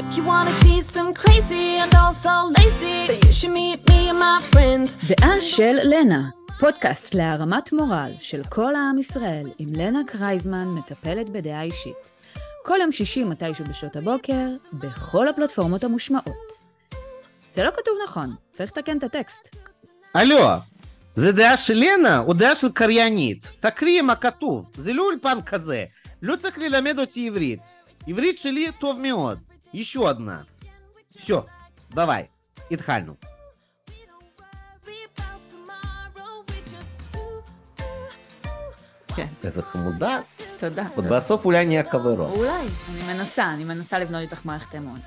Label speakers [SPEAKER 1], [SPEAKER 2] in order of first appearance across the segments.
[SPEAKER 1] If you wanna see some crazy and also lazy, then you should meet me and my friends.
[SPEAKER 2] דעה של לנה, פודקאסט להרמת מורל של כל העם ישראל, עם לנה קרייזמן, מטפלת בדעה אישית. כל יום שישי מתישהו בשעות הבוקר, בכל הפלטפורמות המושמעות. זה לא כתוב נכון, צריך לתקן את הטקסט.
[SPEAKER 3] Алло, זה דעה של לנה או דעה של קריינית? תקריא מה כתוב, זה לא אולפן כזה. לא צריך ללמד אותי עברית. עברית שלי טוב מאוד. еще одна. Все, давай, התחלנו.
[SPEAKER 1] Worry about tomorrow, we just ooh, ooh, ooh,
[SPEAKER 2] כן.
[SPEAKER 3] איזה חמודה.
[SPEAKER 2] תודה.
[SPEAKER 3] עוד בסוף אולי נהיה חברו.
[SPEAKER 2] אולי. אני מנסה, אני מנסה לבנות איתך מערכת אמון.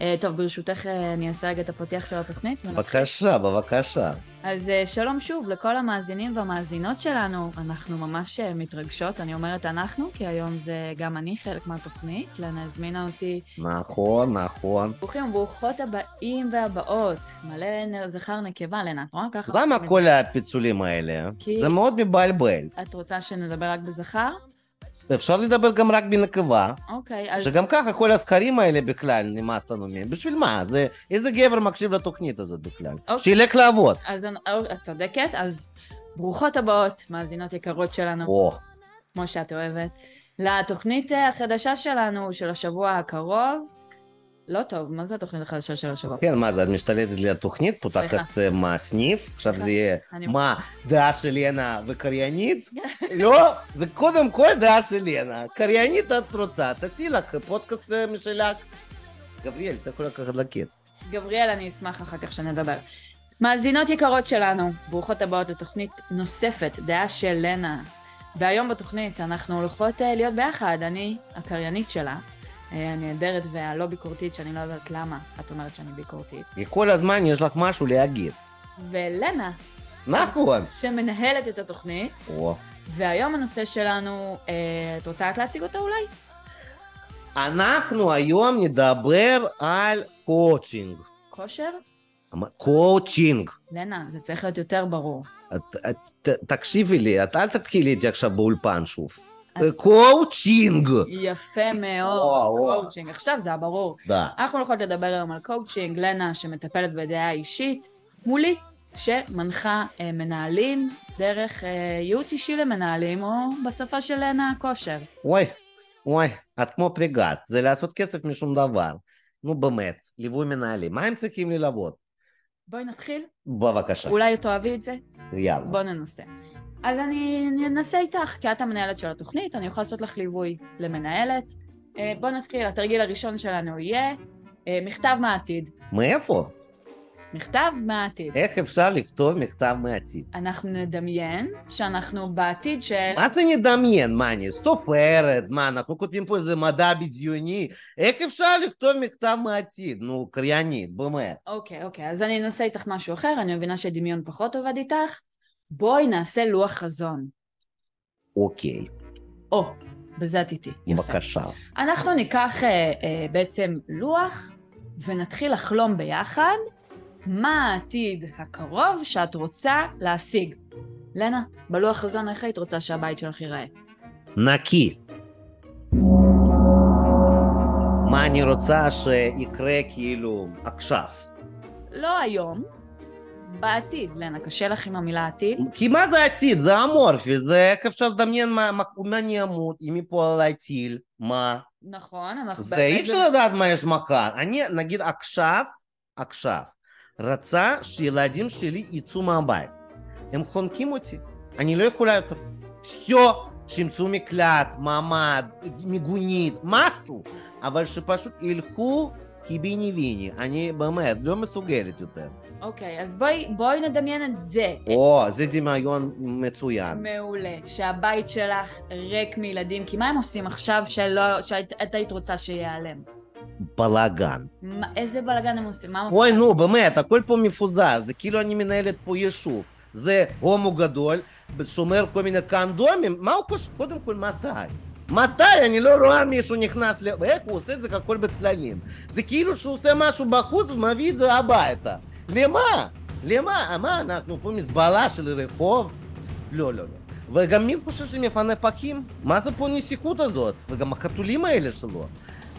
[SPEAKER 2] אה, טוב, ברשותך אה, אני אעשה רגע את הפתיח של התוכנית. ונתחיל.
[SPEAKER 3] בבקשה, בבקשה.
[SPEAKER 2] אז אה, שלום שוב לכל המאזינים והמאזינות שלנו. אנחנו ממש אה, מתרגשות, אני אומרת אנחנו, כי היום זה גם אני חלק מהתוכנית. לנה הזמינה אותי.
[SPEAKER 3] נכון, נכון.
[SPEAKER 2] ברוכים וברוכות הבאים והבאות. מלא נר- זכר נקבה, לנה, את רואה ככה?
[SPEAKER 3] למה
[SPEAKER 2] עושים את
[SPEAKER 3] כל הפיצולים האלה?
[SPEAKER 2] כי-
[SPEAKER 3] זה מאוד מבלבל.
[SPEAKER 2] זה. את רוצה שנדבר רק בזכר?
[SPEAKER 3] אפשר לדבר גם רק בנקבה.
[SPEAKER 2] אוקיי, אז...
[SPEAKER 3] שגם ככה כל הזכרים האלה בכלל נמאס לנו מהם. בשביל מה? זה, איזה גבר מקשיב לתוכנית הזאת בכלל?
[SPEAKER 2] אוקיי.
[SPEAKER 3] שילך לעבוד.
[SPEAKER 2] אז אני- אור, את צודקת, אז ברוכות הבאות, מאזינות יקרות שלנו.
[SPEAKER 3] או,
[SPEAKER 2] כמו שאת אוהבת, לתוכנית אה, החדשה שלנו, של השבוע הקרוב. לא טוב, מה זה התוכנית החדשה של השבוע?
[SPEAKER 3] כן, מה זה, את משתלטת לי על התוכנית, פותחת
[SPEAKER 2] סליחה.
[SPEAKER 3] אה, מה, סניף, עכשיו זה יהיה,
[SPEAKER 2] אני-
[SPEAKER 3] מה, דעה של ינה וקריינית? לא, זה קודם כל דעה של ינה. קריינית את רוצה, תעשי לך פודקאסט אה, משלך. גבריאל, אתה יכול לקחת לכיס.
[SPEAKER 2] גבריאל, אני אשמח אחר כך שנדבר. מאזינות יקרות שלנו, ברוכות הבאות לתוכנית נוספת, דעה של לנה. והיום בתוכנית אנחנו הולכות אה, להיות ביחד, אני הקריינית שלה, אה, הנהדרת והלא ביקורתית, שאני לא יודעת למה את אומרת שאני ביקורתית,
[SPEAKER 3] כי כל הזמן יש לך משהו להגיד.
[SPEAKER 2] ולנה,
[SPEAKER 3] נכון.
[SPEAKER 2] שמנהלת את התוכנית,
[SPEAKER 3] או.
[SPEAKER 2] והיום הנושא שלנו, אה, את רוצה את להציג אותו אולי?
[SPEAKER 3] אנחנו היום נדבר על קואוצ'ינג.
[SPEAKER 2] כושר?
[SPEAKER 3] אמר- קואוצ'ינג.
[SPEAKER 2] לנה, זה צריך להיות יותר ברור.
[SPEAKER 3] את- את- ת- תקשיבי לי, את אל תתחילי איתי עכשיו באולפן שוב.
[SPEAKER 2] אז-
[SPEAKER 3] אה, קואוצ'ינג.
[SPEAKER 2] יפה מאוד,
[SPEAKER 3] וואו, וואו.
[SPEAKER 2] קואוצ'ינג. עכשיו זה הברור.
[SPEAKER 3] Да.
[SPEAKER 2] אנחנו הולכות לדבר היום על קואוצ'ינג, לנה שמטפלת בדעה אישית, מולי, שמנחה אה, מנהלים דרך אה, ייעוץ אישי למנהלים, או בשפה של לנה, כושר.
[SPEAKER 3] אוי, אוי, את כמו פריגת, זה לעשות כסף משום דבר. נו באמת, ליווי מנהלים, מה הם צריכים ללוות?
[SPEAKER 2] בואי נתחיל,
[SPEAKER 3] בבקשה,
[SPEAKER 2] אולי תאהבי את זה,
[SPEAKER 3] יאללה.
[SPEAKER 2] בואו ננסה. אז אני אנסה איתך, כי את המנהלת של התוכנית, אני יכולה לעשות לך ליווי למנהלת. אה, בואו נתחיל, התרגיל הראשון שלנו יהיה אה, מכתב מהעתיד.
[SPEAKER 3] מאיפה?
[SPEAKER 2] מכתב מהעתיד.
[SPEAKER 3] איך אפשר לכתוב מכתב מהעתיד?
[SPEAKER 2] אנחנו נדמיין שאנחנו בעתיד של...
[SPEAKER 3] מה זה נדמיין? מה אני, סופרת? מה, אנחנו כותבים פה איזה מדע בדיוני? איך אפשר לכתוב מכתב מהעתיד? נו, קריינית, באמת.
[SPEAKER 2] אוקיי, אוקיי, אז אני אנסה איתך משהו אחר, אני מבינה שדמיון פחות עובד איתך. בואי נעשה לוח חזון.
[SPEAKER 3] אוקיי,
[SPEAKER 2] או, בזה את איתי. יפה.
[SPEAKER 3] בבקשה.
[SPEAKER 2] אנחנו ניקח אה, אה, בעצם לוח ונתחיל לחלום ביחד מה העתיד הקרוב שאת רוצה להשיג. לנה, בלוח חזון איך היית רוצה שהבית שלך ייראה?
[SPEAKER 3] נקי. מה אני רוצה שיקרה כאילו עכשיו?
[SPEAKER 2] לא היום, בעתיד. לנה, קשה לך עם המילה עתיד?
[SPEAKER 3] כי מה זה עתיד? זה אמורפי, זה איך אפשר לדמיין מה, מה, מה אני אמות, אם יפול עליי טיל, מה?
[SPEAKER 2] נכון, אנחנו...
[SPEAKER 3] זה
[SPEAKER 2] באמת-
[SPEAKER 3] אי אפשר לדעת מה יש מחר. אני, נגיד עכשיו, עכשיו, רצה שילדים שלי יצאו מהבית. הם חונקים אותי, אני לא יכולה יותר. все, שימצאו מקלט, מעמד, מיגונית, משהו, אבל שפשוט ילכו קיביני ויני. אני באמת לא מסוגלת יותר.
[SPEAKER 2] אוקיי, אז בואי, בואי נדמיין את זה.
[SPEAKER 3] או, זה דמיון מצוין.
[SPEAKER 2] מעולה. שהבית שלך ריק מילדים, כי מה הם עושים עכשיו שלא, שאת את היית רוצה שייעלם?
[SPEAKER 3] בלאגן.
[SPEAKER 2] מה- איזה בלאגן הם עושים? מה הם
[SPEAKER 3] אוי,
[SPEAKER 2] עושים?
[SPEAKER 3] נו, באמת, הכל פה מפוזר, זה כאילו אני מנהלת פה יישוב. זה הומו גדול, שומר כל מיני קנדומים, מה הוא חושב? קודם כל, מתי? מתי? אני לא רואה מישהו נכנס ל... איך הוא עושה את זה הכל בצללים? זה כאילו שהוא עושה משהו בחוץ ומביא את זה הביתה. למה? למה? מה, אנחנו פה מזבלה של רחוב? לא, לא, לא. וגם מי חושב שמפנה פחים? מה זה פה הנסיכות הזאת? וגם החתולים האלה שלו.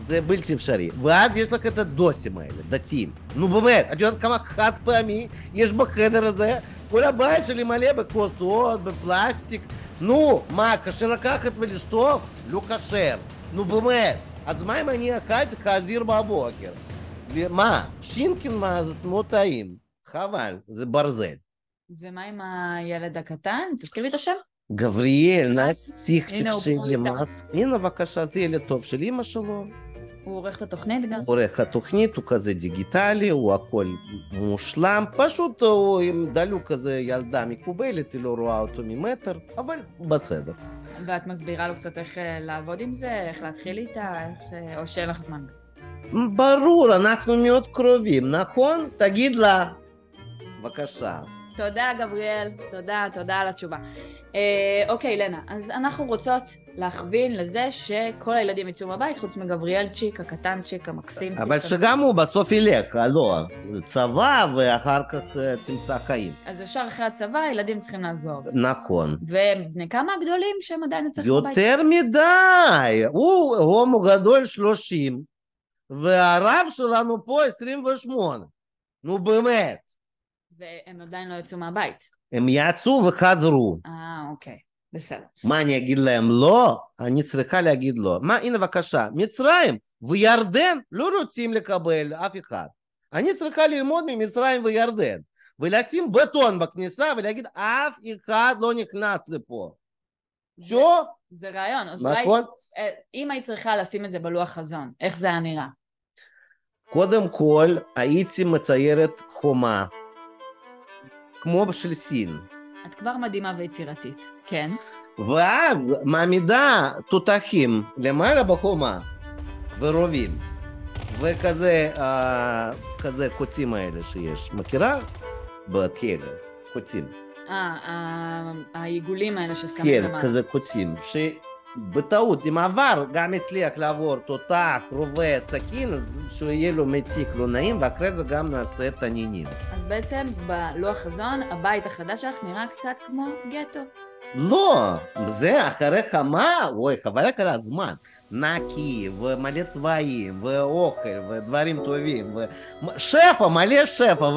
[SPEAKER 3] זה בלתי אפשרי. ואז יש לך את הדוסים האלה, דתיים. נו באמת, את יודעת כמה חד פעמי יש בחדר הזה? כל הבית שלי מלא בכוסות, בפלסטיק. נו, מה, קשה לקחת ולשטוף? לא כשר. נו באמת. אז מה אם אני אכלתי חזיר בבוקר? מה? שינקין מה? זה לא טעים. חבל, זה ברזל.
[SPEAKER 2] ומה עם הילד הקטן? תזכיר לי את השם.
[SPEAKER 3] גבריאל, נסיכצ'יק
[SPEAKER 2] הנה הוא פה
[SPEAKER 3] שלי,
[SPEAKER 2] איתנו.
[SPEAKER 3] מה? הנה בבקשה, זה ילד טוב של אמא שלו.
[SPEAKER 2] הוא עורך את התוכנית גם.
[SPEAKER 3] עורך התוכנית, הוא כזה דיגיטלי, הוא הכל מושלם, פשוט הוא עם דלוק כזה ילדה מקובלת, היא לא רואה אותו ממטר, אבל בסדר.
[SPEAKER 2] ואת מסבירה לו קצת איך אה, לעבוד עם זה, איך להתחיל איתה, איך... אה, או שאין לך זמן.
[SPEAKER 3] ברור, אנחנו מאוד קרובים, נכון? תגיד לה. בבקשה.
[SPEAKER 2] תודה, גבריאל. תודה, תודה על התשובה. אה, אוקיי, לנה, אז אנחנו רוצות להכווין לזה שכל הילדים יצאו מהבית, חוץ מגבריאלצ'יק, הקטנצ'יק, המקסים.
[SPEAKER 3] אבל שגם הוא בסוף ילך, הלא, צבא ואחר כך אה, תמצא חיים.
[SPEAKER 2] אז ישר אחרי הצבא, הילדים צריכים לעזוב.
[SPEAKER 3] נכון.
[SPEAKER 2] והם בני כמה הגדולים שהם עדיין יצאו מהבית?
[SPEAKER 3] יותר מדי! הוא הומו גדול 30, והרב שלנו פה 28. נו באמת.
[SPEAKER 2] והם עדיין לא יצאו מהבית.
[SPEAKER 3] הם יצאו וחזרו.
[SPEAKER 2] אה, אוקיי. בסדר.
[SPEAKER 3] מה, אני אגיד להם לא? אני צריכה להגיד לא. מה, הנה בבקשה, מצרים וירדן לא רוצים לקבל אף אחד. אני צריכה ללמוד ממצרים וירדן, ולשים בטון בכניסה ולהגיד אף אחד לא נכנס לפה. זהו,
[SPEAKER 2] זה רעיון. אז אולי-
[SPEAKER 3] נכון?
[SPEAKER 2] אה, אם היית צריכה לשים את זה בלוח חזון, איך זה היה נראה?
[SPEAKER 3] קודם כל, הייתי מציירת חומה, כמו של סין,
[SPEAKER 2] את כבר מדהימה ויצירתית. כן.
[SPEAKER 3] ואז מעמידה תותחים למעלה בחומה, ורובים, וכזה, אה, כזה קוצים האלה שיש. מכירה? בכלא, קוצים.
[SPEAKER 2] אה, ה- העיגולים האלה ששמים
[SPEAKER 3] כן,
[SPEAKER 2] למעלה.
[SPEAKER 3] כזה קוצים, שבטעות, אם עבר, גם הצליח לעבור תותח, רובה, סכין, אז שיהיה לו מציק לא נעים, ואחרי זה גם נעשה תנינים.
[SPEAKER 2] אז בעצם בלוח חזון, הבית החדש שלך נראה קצת כמו גטו.
[SPEAKER 3] לא, זה אחרי חמה, אוי, חבל רק על הזמן. נקי, ומלא צבעים, ואוכל, ודברים טובים, ושפע, מלא שפע,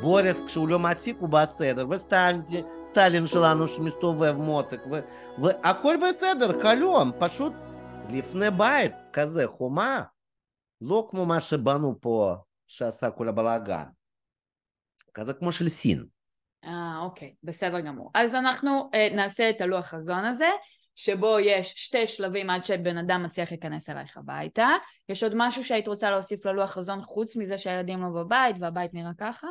[SPEAKER 3] ובוריס כשהוא לא מעתיק הוא בסדר, וסטלין שלנו שמסתובב מותק, ו... והכל בסדר, חלום, פשוט לפני בית, כזה חומה, לא כמו מה שבנו פה, שעשה כל הבלאגן. כזה כמו של סין.
[SPEAKER 2] אה, אוקיי, בסדר גמור. אז אנחנו אה, נעשה את הלוח חזון הזה, שבו יש שתי שלבים עד שבן אדם מצליח להיכנס אלייך הביתה. יש עוד משהו שהיית רוצה להוסיף ללוח חזון חוץ מזה שהילדים לא בבית והבית נראה ככה?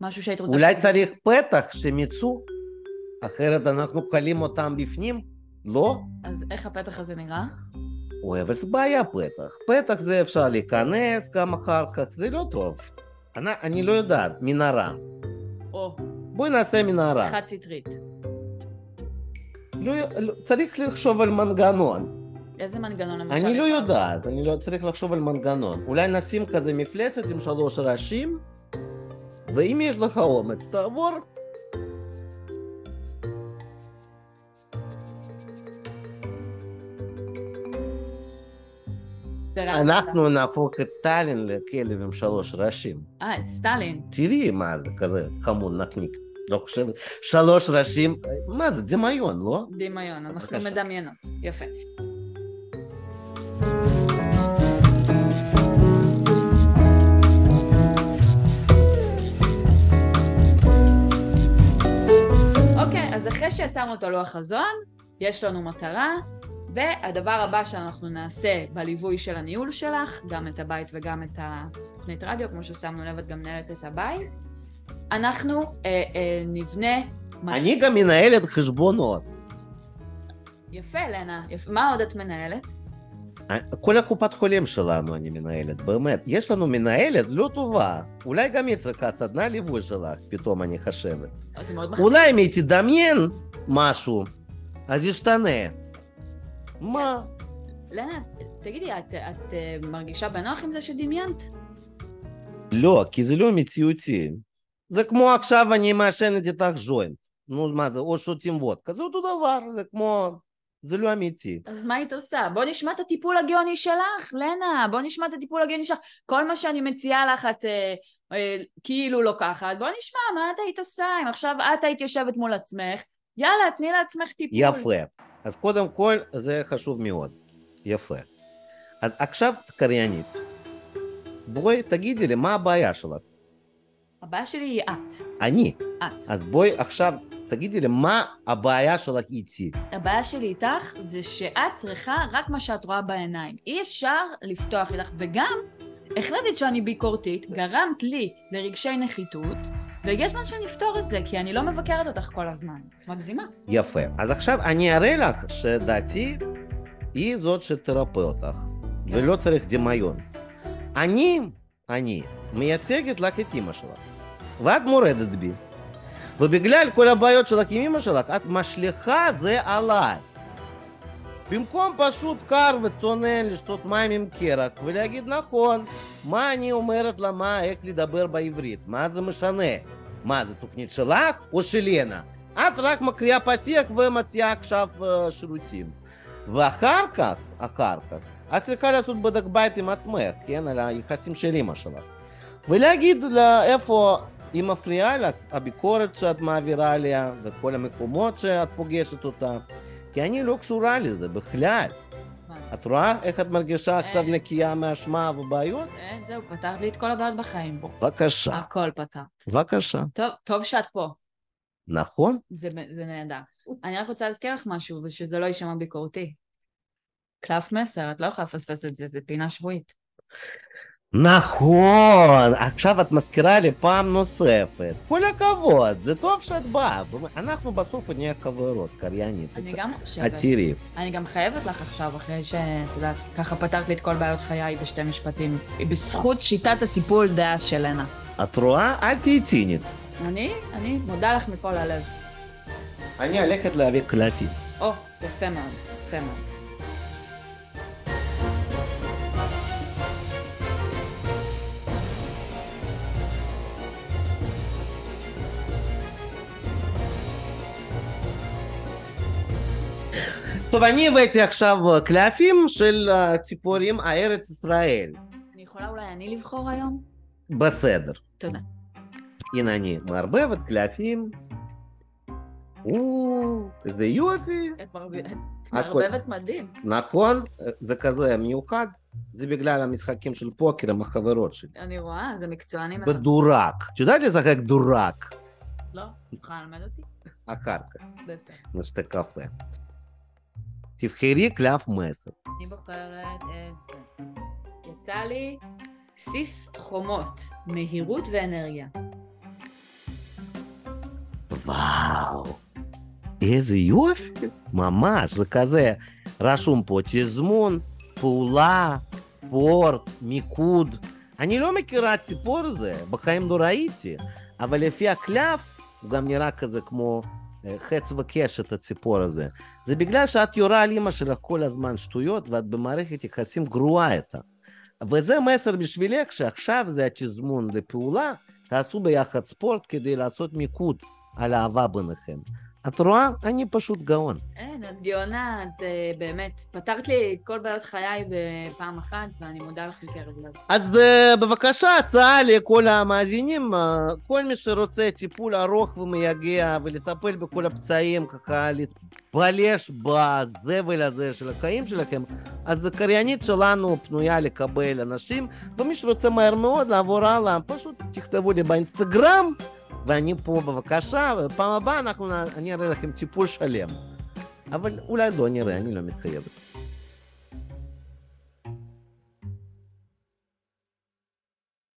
[SPEAKER 2] משהו שהיית רוצה...
[SPEAKER 3] אולי
[SPEAKER 2] להגיד?
[SPEAKER 3] צריך פתח שהם יצאו, אחרת אנחנו כלים אותם בפנים? לא?
[SPEAKER 2] אז איך הפתח הזה נראה?
[SPEAKER 3] אוי, אבל זה בעיה פתח. פתח זה אפשר להיכנס גם אחר כך, זה לא טוב. אני, אני לא יודעת, מנהרה.
[SPEAKER 2] או,
[SPEAKER 3] בואי נעשה מנהרה.
[SPEAKER 2] חד סטרית.
[SPEAKER 3] לא, לא, צריך לחשוב על מנגנון.
[SPEAKER 2] איזה מנגנון למשל?
[SPEAKER 3] אני לא
[SPEAKER 2] יש?
[SPEAKER 3] יודעת, אני לא צריך לחשוב על מנגנון. אולי נשים כזה מפלצת עם שלוש ראשים, ואם יש לך אומץ, תעבור
[SPEAKER 2] זה רע.
[SPEAKER 3] אנחנו נהפוך את סטלין לכלב עם שלוש ראשים.
[SPEAKER 2] אה, את סטלין.
[SPEAKER 3] תראי מה זה כזה חמוד נקניק. לא חושבת. שלוש ראשים, מה זה, דמיון, לא?
[SPEAKER 2] דמיון, אנחנו
[SPEAKER 3] בבקשה.
[SPEAKER 2] מדמיינות. יפה. אוקיי, אז אחרי שיצרנו את הלוח חזון, יש לנו מטרה, והדבר הבא שאנחנו נעשה בליווי של הניהול שלך, גם את הבית וגם את התוכנית רדיו, כמו ששמנו לב, את גם מנהלת את הבית, אנחנו אה, אה, נבנה...
[SPEAKER 3] אני גם מנהלת חשבונות.
[SPEAKER 2] יפה, לנה. יפ... מה עוד את מנהלת?
[SPEAKER 3] כל הקופת חולים שלנו אני מנהלת, באמת. יש לנו מנהלת לא טובה. אולי גם היא צריכה סדנה ליווי שלך, פתאום אני חשבת.
[SPEAKER 2] זה מאוד מחמיא.
[SPEAKER 3] אולי אם היא תדמיין משהו, אז ישתנה. מה?
[SPEAKER 2] לנה, תגידי, את, את אה, מרגישה בנוח עם זה שדמיינת?
[SPEAKER 3] לא, כי זה לא מציאותי. זה כמו Ну, עכשיו אני מעשנת איתך ג'וינט. נו, מה זה, או שותים וודקה, זה אותו דבר, זה כמו זה לא אמיתי.
[SPEAKER 2] אז מה היית עושה? בוא נשמע את הטיפול הגאוני שלך, לנה, בוא נשמע את הטיפול הגאוני שלך. כל מה שאני מציעה לך את אה, אה, כאילו לוקחת, בוא נשמע מה את היית עושה אם עכשיו את היית יושבת מול עצמך. יאללה, תני לעצמך טיפול.
[SPEAKER 3] יפה. אז קודם כל, זה חשוב מאוד. יפה. אז עכשיו קריינית. בואי תגידי לי מה הבעיה שלך.
[SPEAKER 2] הבעיה שלי היא את.
[SPEAKER 3] אני.
[SPEAKER 2] את.
[SPEAKER 3] אז בואי עכשיו תגידי לי מה הבעיה שלך איתי.
[SPEAKER 2] הבעיה שלי איתך זה שאת צריכה רק מה שאת רואה בעיניים. אי אפשר לפתוח איתך. וגם, החלטת שאני ביקורתית, גרמת לי לרגשי נחיתות, והגיע הזמן שנפתור את זה, כי אני לא מבקרת אותך כל הזמן. את מגזימה.
[SPEAKER 3] יפה. אז עכשיו אני אראה לך שדעתי היא זאת שתרפא אותך, ולא צריך דמיון. אני, אני, מייצגת לך את אימא שלך, ואת מורדת בי. ובגלל כל הבעיות שלך עם אימא שלך, את משליכה זה עליי. במקום פשוט קר וצונן לשתות מים עם קרח ולהגיד נכון, מה אני אומרת לה, מה, איך לדבר בעברית, מה זה משנה? מה, זה תוכנית שלך או של לנה? את רק מקריאה פתיח ומציעה עכשיו אה, שירותים. ואחר כך, אחר כך, את צריכה לעשות בדק בית עם עצמך, כן, על היחסים של אימא שלך. ולהגיד לה איפה היא מפריעה לך, הביקורת שאת מעבירה עליה, וכל המקומות שאת פוגשת אותה. כי אני לא קשורה לזה בכלל. את רואה איך את מרגישה עכשיו נקייה מאשמה ובעיות?
[SPEAKER 2] כן, זהו, פתרת לי את כל הבעיות בחיים. בוא.
[SPEAKER 3] בבקשה,
[SPEAKER 2] הכל פתרת.
[SPEAKER 3] בבקשה.
[SPEAKER 2] טוב, טוב שאת פה.
[SPEAKER 3] נכון?
[SPEAKER 2] זה, זה נהדר. אני רק רוצה להזכיר לך משהו, ושזה לא יישמע ביקורתי. קלף מסר, את לא יכולה לפספס את זה, זה פינה שבועית.
[SPEAKER 3] נכון! עכשיו את מזכירה לי פעם נוספת. כל הכבוד, זה טוב שאת באה. אנחנו בסוף נהיה חברות, קריינית.
[SPEAKER 2] אני גם חושבת.
[SPEAKER 3] את תראי.
[SPEAKER 2] אני גם חייבת לך עכשיו, אחרי שאת יודעת, ככה פתרת לי את כל בעיות חיי בשתי משפטים. בזכות שיטת הטיפול דעה של לנה.
[SPEAKER 3] את רואה? אל תהיי צינית.
[SPEAKER 2] אני, אני מודה לך מכל הלב.
[SPEAKER 3] אני הולכת להביא קלפים.
[SPEAKER 2] או, יפה מאוד, יפה מאוד.
[SPEAKER 3] טוב, אני הבאתי עכשיו קלפים של אה, ציפורים הארץ ישראל.
[SPEAKER 2] אני יכולה אולי אני לבחור היום?
[SPEAKER 3] בסדר.
[SPEAKER 2] תודה.
[SPEAKER 3] הנה אני מערבב את קלפים. או, איזה יופי.
[SPEAKER 2] את מרב- את
[SPEAKER 3] הכל.
[SPEAKER 2] מערבבת מדהים.
[SPEAKER 3] נכון, זה כזה מיוחד. זה בגלל המשחקים של פוקר עם החברות שלי.
[SPEAKER 2] אני רואה, זה מקצוענים. אבל-
[SPEAKER 3] בדורק. את יודעת לשחק דורק?
[SPEAKER 2] לא, את יכולה ללמד אותי?
[SPEAKER 3] אחר כך,
[SPEAKER 2] בסדר.
[SPEAKER 3] נשתה קפה. תבחרי קלף מסר.
[SPEAKER 2] אני בוחרת את זה. יצא לי סיס חומות, מהירות ואנרגיה.
[SPEAKER 3] וואו, איזה יופי. ממש, זה כזה. רשום פה תזמון, פעולה, ספורט, מיקוד. אני לא מכירה ציפור זה, בחיים לא ראיתי, אבל לפי הקלף הוא גם נראה כזה כמו אה, חץ וקשת הציפור הזה. זה בגלל שאת יורה על אימא שלך כל הזמן שטויות ואת במערכת יחסים גרועה איתה. וזה מסר בשבילך שעכשיו זה התזמון לפעולה, תעשו ביחד ספורט כדי לעשות מיקוד על האהבה ביניכם. את רואה? אני פשוט גאון.
[SPEAKER 2] אין, את גאונה, את אה, באמת. פתרת לי את כל בעיות חיי בפעם אחת, ואני מודה לך מקרב לב.
[SPEAKER 3] אז אה, בבקשה, הצעה לכל המאזינים, אה, כל מי שרוצה טיפול ארוך ומייגע ולטפל בכל הפצעים, ככה להתפלש בזבל הזה של החיים שלכם, אז הקריינית שלנו פנויה לקבל אנשים, ומי שרוצה מהר מאוד לעבור הלאה, פשוט תכתבו לי באינסטגרם, ואני פה בבקשה, А פעם הבאה אנחנו, נ- אני אראה לכם טיפול שלם. אבל אולי לא נראה, אני לא מתחייבת.